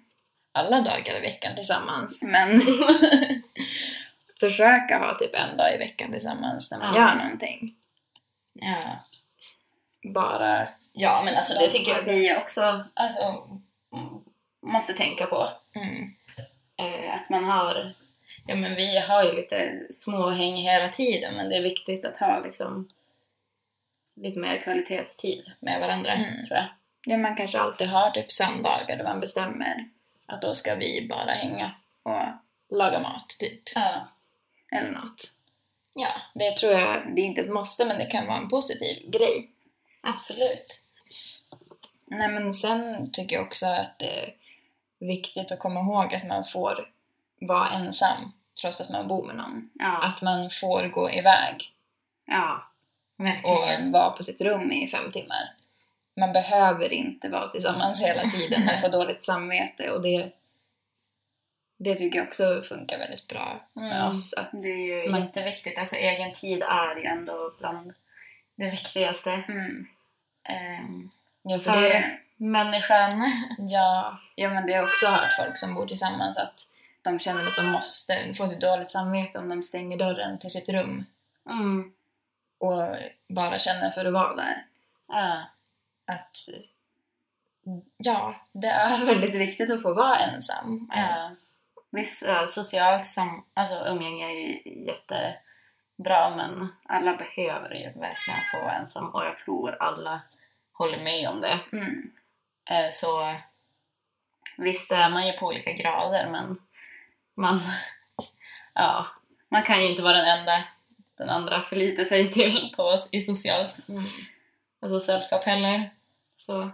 B: alla dagar i veckan tillsammans, men försöka ha typ en dag i veckan tillsammans när man
A: Ja.
B: gör någonting.
A: Ja.
B: Bara,
A: Ja, men alltså det tycker jag vi också alltså, m- måste tänka på.
B: mm,
A: Eh, att man har... Ja, men vi har ju lite småhäng hela tiden, men det är viktigt att ha liksom lite mer kvalitetstid med varandra,
B: Mm.
A: tror jag.
B: ja man kanske alltid har typ söndagar då man bestämmer att då ska vi bara hänga och laga mat typ,
A: Ja.
B: eller något.
A: ja,
B: Det tror jag, det är inte ett måste men det kan vara en positiv grej.
A: absolut.
B: Nej men sen tycker jag också att det är viktigt att komma ihåg att man får vara ensam trots att man bor med någon.
A: Ja,
B: Att man får gå iväg
A: ja.
B: och
A: verkligen.
B: vara på sitt rum i fem timmar. Man behöver inte vara tillsammans
A: Mm.
B: hela tiden och få dåligt samvete och det, det tycker jag också funkar väldigt bra med
A: Mm.
B: oss. Att,
A: Det är ju
B: Man-
A: jätteviktigt. Alltså egen tid är ju ändå bland det viktigaste.
B: mm,
A: ehm,
B: ja, för
A: för
B: det,
A: människan.
B: ja, ja, men det har jag också hört folk som bor tillsammans att de känner att de måste få ett dåligt samvete om de stänger dörren till sitt rum
A: Mm.
B: och bara känner för att vara där.
A: Ja.
B: Att ja, det är väldigt viktigt att få vara ensam.
A: Ja. Visst, ja, Eh, socialt sam- alltså, umgänge är ju jättebra men alla behöver ju verkligen få vara ensam och jag tror alla håller med om det.
B: Mm.
A: Eh, Så visst är man ju på olika grader men man, ja, man kan ju inte vara den enda den andra förlitar sig till på oss i socialt
B: Mm.
A: alltså sällskap heller. Så,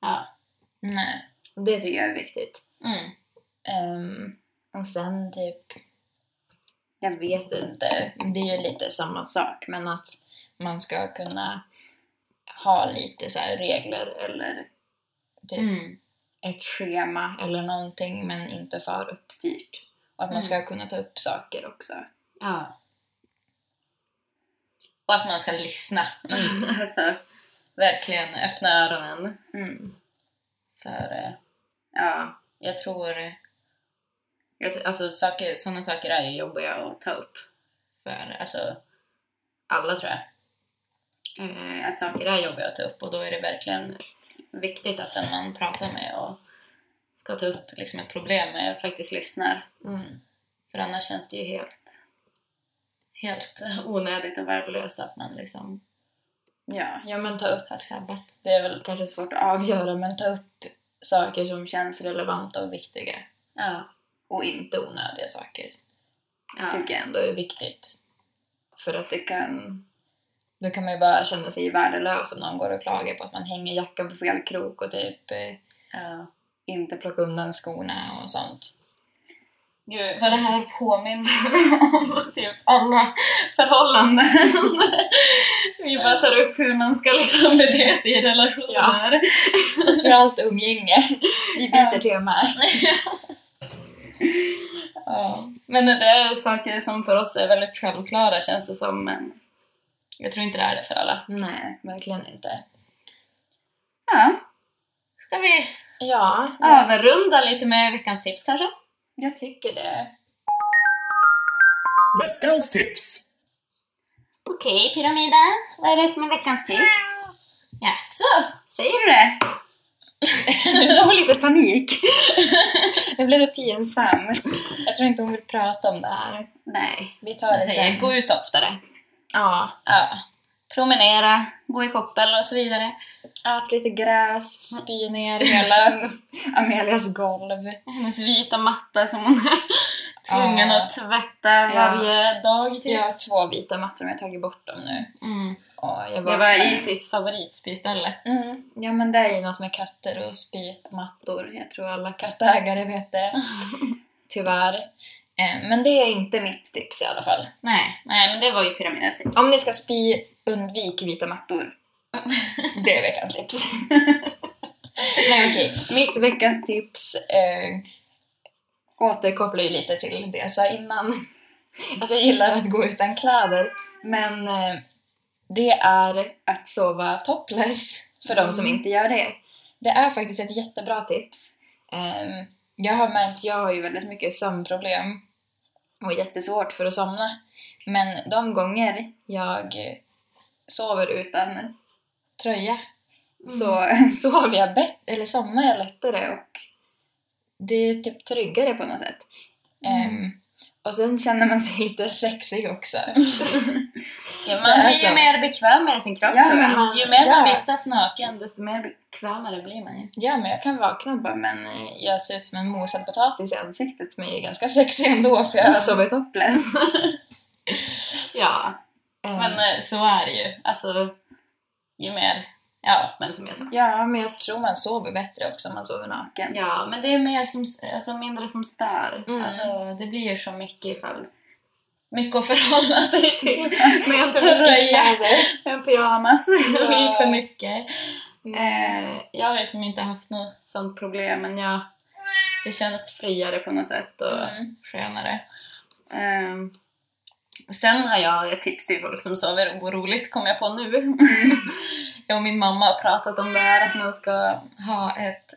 A: ja.
B: Nej, det tycker jag är viktigt.
A: Mm.
B: Ehm, och sen typ, jag vet inte, det är ju lite samma sak men att man ska kunna ha lite så här regler eller typ
A: Mm.
B: ett schema eller någonting men inte för uppstyrt. Och att man
A: Mm.
B: ska kunna ta upp saker också.
A: Ja. Och att man ska lyssna. alltså, verkligen öppna öronen.
B: Mm.
A: För eh,
B: Ja.
A: jag tror... Jag, tr- alltså, saker, sådana saker är ju jobbiga att ta upp. För alltså, alla tror jag. Eh, att saker är jobbiga att ta upp och då är det verkligen viktigt att den man pratar med och ska ta upp liksom, ett problem med faktiskt lyssnar.
B: Mm.
A: För annars känns det ju helt, helt onödigt och värdelöst att man liksom
B: Ja, ja men ta upp.
A: har sabbat.
B: Det är väl kanske svårt att avgöra men ta upp saker som känns relevanta och viktiga.
A: Ja.
B: Och inte onödiga saker.
A: ja.
B: Tycker jag ändå är viktigt. För att det kan... Då kan man ju bara känna sig värdelös om någon går och klagar på att man hänger jackan på fel krok och typ eh,
A: ja.
B: inte plockar undan skorna och sånt.
A: Gud, vad det här påminner om typ alla förhållanden. Vi bara tar upp hur man ska liksom bete sig i relationer.
B: Socialt umgänge. Vi byter
A: Ja.
B: tema.
A: Ja. Men det är saker som för oss är väldigt självklara känns det som. Men jag tror inte det är det för alla.
B: Nej, verkligen inte.
A: Ja. Ska vi
B: Ja,
A: överrunda lite med veckans tips kanske?
B: jag tycker det.
C: Veckans tips!
A: Okej, Pyramiden. Vad är det som är veckans tips? Jaså?
B: Säger du det? Jag får lite panik. Nu blev det pinsamt. Jag tror inte hon vill prata om det här.
A: Nej.
B: Vi tar det sen.
A: gå ut oftare.
B: Ja,
A: Ja. Promenera, gå i koppel och så vidare.
B: ät lite gräs, spy ner hela Amelias golv.
A: Hennes vita matta som hon är tvungen
B: Ja.
A: att tvätta varje dag. Typ.
B: Jag har två vita mattor men jag har tagit bort dem nu.
A: Mm.
B: Och jag
A: Det var Isis favoritspyställe.
B: Mm. Ja men det är ju något med katter och spymattor. Jag tror alla kattägare vet det. Tyvärr. Eh, Men det är inte mitt tips i alla fall.
A: Nej, nej men det var ju pyramidens tips.
B: Om ni ska spy, undvik vita mattor. Det är veckans tips. Nej okej, mitt veckans tips eh, återkopplar ju lite till det jag sa innan. Att jag gillar att gå utan kläder. Men eh, det är att sova topless för de som inte gör det. Det är faktiskt ett jättebra tips. Eh, jag har märkt, jag har ju väldigt mycket sömnproblem och jättesvårt för att somna. Men de gånger jag sover utan tröja så sover jag bättre, eller somnar jag lättare och det är typ tryggare på något sätt. Ehm, och sen känner man sig lite sexig också.
A: Ja,
B: Det
A: man
B: är
A: blir ju
B: så.
A: mer bekväm med sin kropp
B: Ja,
A: tror jag.
B: men man-
A: ju mer man
B: ja.
A: vistas naken desto mer bekvämare blir man ju.
B: Ja, men jag kan vakna och bara, men eh, jag ser ut som en mosad potatis i ansiktet men jag är ganska sexig ändå för jag har sovit topless.
A: Ja,
B: Ehm,
A: men eh, så är det ju. Alltså, ju mer... Ja, men som jag sa.
B: ja, men jag tror man sover bättre också om man sover naken.
A: Ja, men det är mer som, alltså, mindre som stör.
B: Mm.
A: Alltså, det blir så mycket ifall... Mycket att förhålla sig till med en
B: För mycket
A: tröja,
B: kläder.
A: en pyjamas. Det blir
B: Ja.
A: för mycket.
B: Mm. Ehm,
A: Eh, jag har ju som inte haft något sånt problem, men jag, det känns friare på något sätt och
B: Mm.
A: skönare. Ehm, sen har jag ett tips till folk som sover oroligt, kom jag på nu. jag och min mamma har pratat om det här att man ska ha ett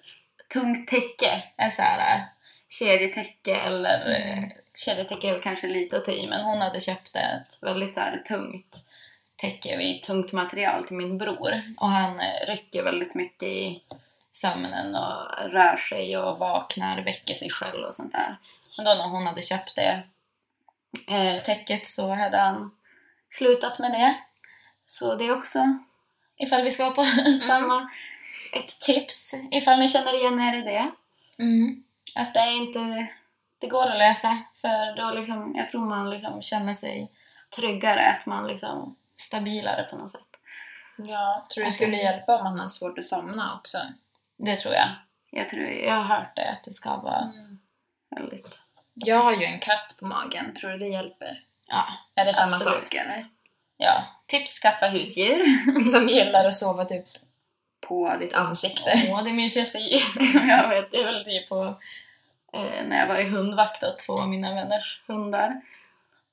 A: tungt täcke, ett så här eh, kedjetäcke eller eh, kedjetäcke är väl kanske lite att ta i, men hon hade köpt ett väldigt så här tungt täcke i tungt material till min bror och han eh, rycker väldigt mycket i sömnen och rör sig och vaknar, väcker sig själv och sånt där. Men då när hon hade köpt det eh, täcket så hade han slutat med det. Så det är också, ifall vi ska vara på samma, ett tips ifall ni känner igen er i det.
B: Mm.
A: Att det är inte, det går att lösa för då liksom, jag tror man liksom känner sig tryggare, att man liksom stabilare på något sätt.
B: Ja, tror det skulle hjälpa om man har svårt att somna också.
A: Det tror jag. Jag, tror, jag har hört det, att det ska vara
B: Mm.
A: väldigt...
B: Jag har ju en katt på magen, tror du det hjälper?
A: Ja,
B: Är det samma
A: Absolut.
B: sak eller?
A: ja. Tips, skaffa husdjur.
B: Som gillar att sova typ
A: På ditt
B: ditt ansikte.
A: Åh, det mysigaste djuret som jag vet. Det är väl det på eh, när jag var i hundvakt åt två av mina vänners hundar.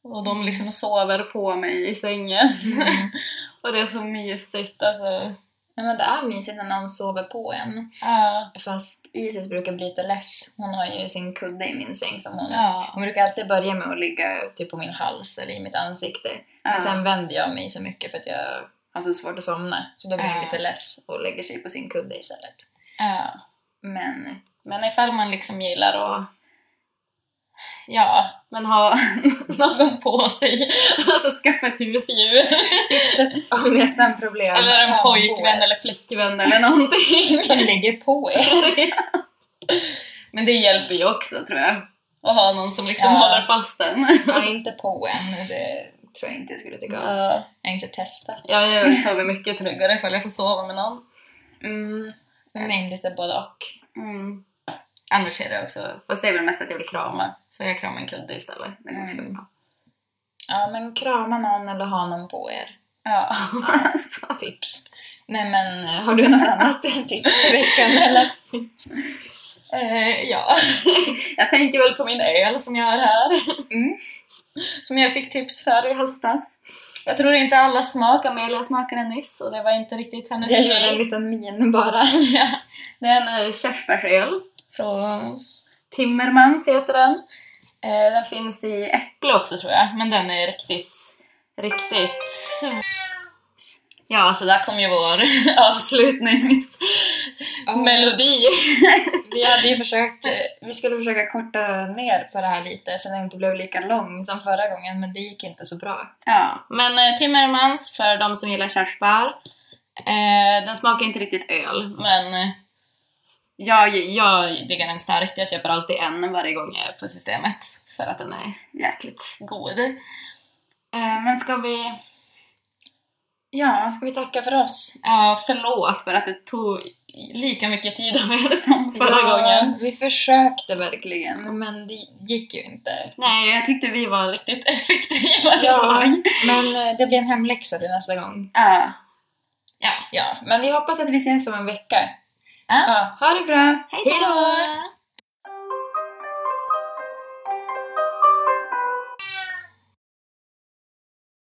A: Och de liksom sover på mig i sängen. Mm. och det är så mysigt alltså.
B: Nej, men det är mysigt när någon sover på en.
A: Ja,
B: Fast Isis brukar bli lite less. Hon har ju sin kudde i min säng som hon...
A: ja.
B: Hon brukar alltid börja med att ligga typ på min hals eller i mitt ansikte.
A: Ja.
B: Men sen vänder jag mig så mycket för att jag har så svårt att somna. Så då blir
A: Ja.
B: hon lite less och lägger sig på sin kudde istället.
A: ja.
B: Men
A: Men ifall man liksom gillar att Ja, men ha någon på sig. Alltså skaffa ett husdjur.
B: om det är sömnproblem...
A: Eller en
B: sambo
A: pojkvän eller flickvän eller någonting.
B: Som ligger på er.
A: Men det hjälper ju också tror jag. Att ha någon som liksom
B: Ja.
A: håller fast en.
B: Ja, inte på en. Det tror jag inte jag skulle tycka om.
A: Ja.
B: Jag har inte testat.
A: Ja, jag sover mycket tryggare ifall jag får sova med någon.
B: Mm. För mig lite både och.
A: Mm. Annars är det också, fast det är väl mest att jag vill krama. Så jag kramar en kudde istället. Det går också
B: Mm.
A: bra.
B: Ja, men krama någon eller ha någon på er.
A: Ja, alltså.
B: Tips. Nej men, eh, har du något annat tips för veckan eller?
A: Eh, ja, jag tänker väl på min öl som jag har här.
B: Mm.
A: Som jag fick tips för i höstas. Jag tror inte alla smakar, Amelia smakade den nyss och det var inte riktigt hennes
B: Jag gör en liten min bara.
A: Det är en eh, körsbärsöl från Timmermans heter den. Eh, Den finns i äpple också tror jag, men den är riktigt, riktigt... Ja, så där kom ju vår avslutningsmelodi.
B: Ja, Vi hade ju försökt, eh, vi skulle försöka korta ner på det här lite så den inte blev lika lång som förra gången men det gick inte så bra.
A: Ja, men eh, Timmermans för de som gillar körsbär. Eh, den smakar inte riktigt öl, men eh, jag, jag diggar den starkt. Jag köper alltid en varje gång jag är på systemet för att den är jäkligt god. Eh, men ska vi...
B: Ja, ska vi tacka för oss?
A: Ja, förlåt för att det tog lika mycket tid av er som förra
B: ja,
A: gången.
B: Vi försökte verkligen men det gick ju inte.
A: Nej, jag tyckte vi var riktigt effektiva.
B: Ja,
A: liksom.
B: men eh, det blir en hemläxa till nästa gång.
A: ja. ja.
B: Ja, men vi hoppas att vi ses om en vecka.
A: Ja.
B: Ja, ha det bra!
A: Hej då!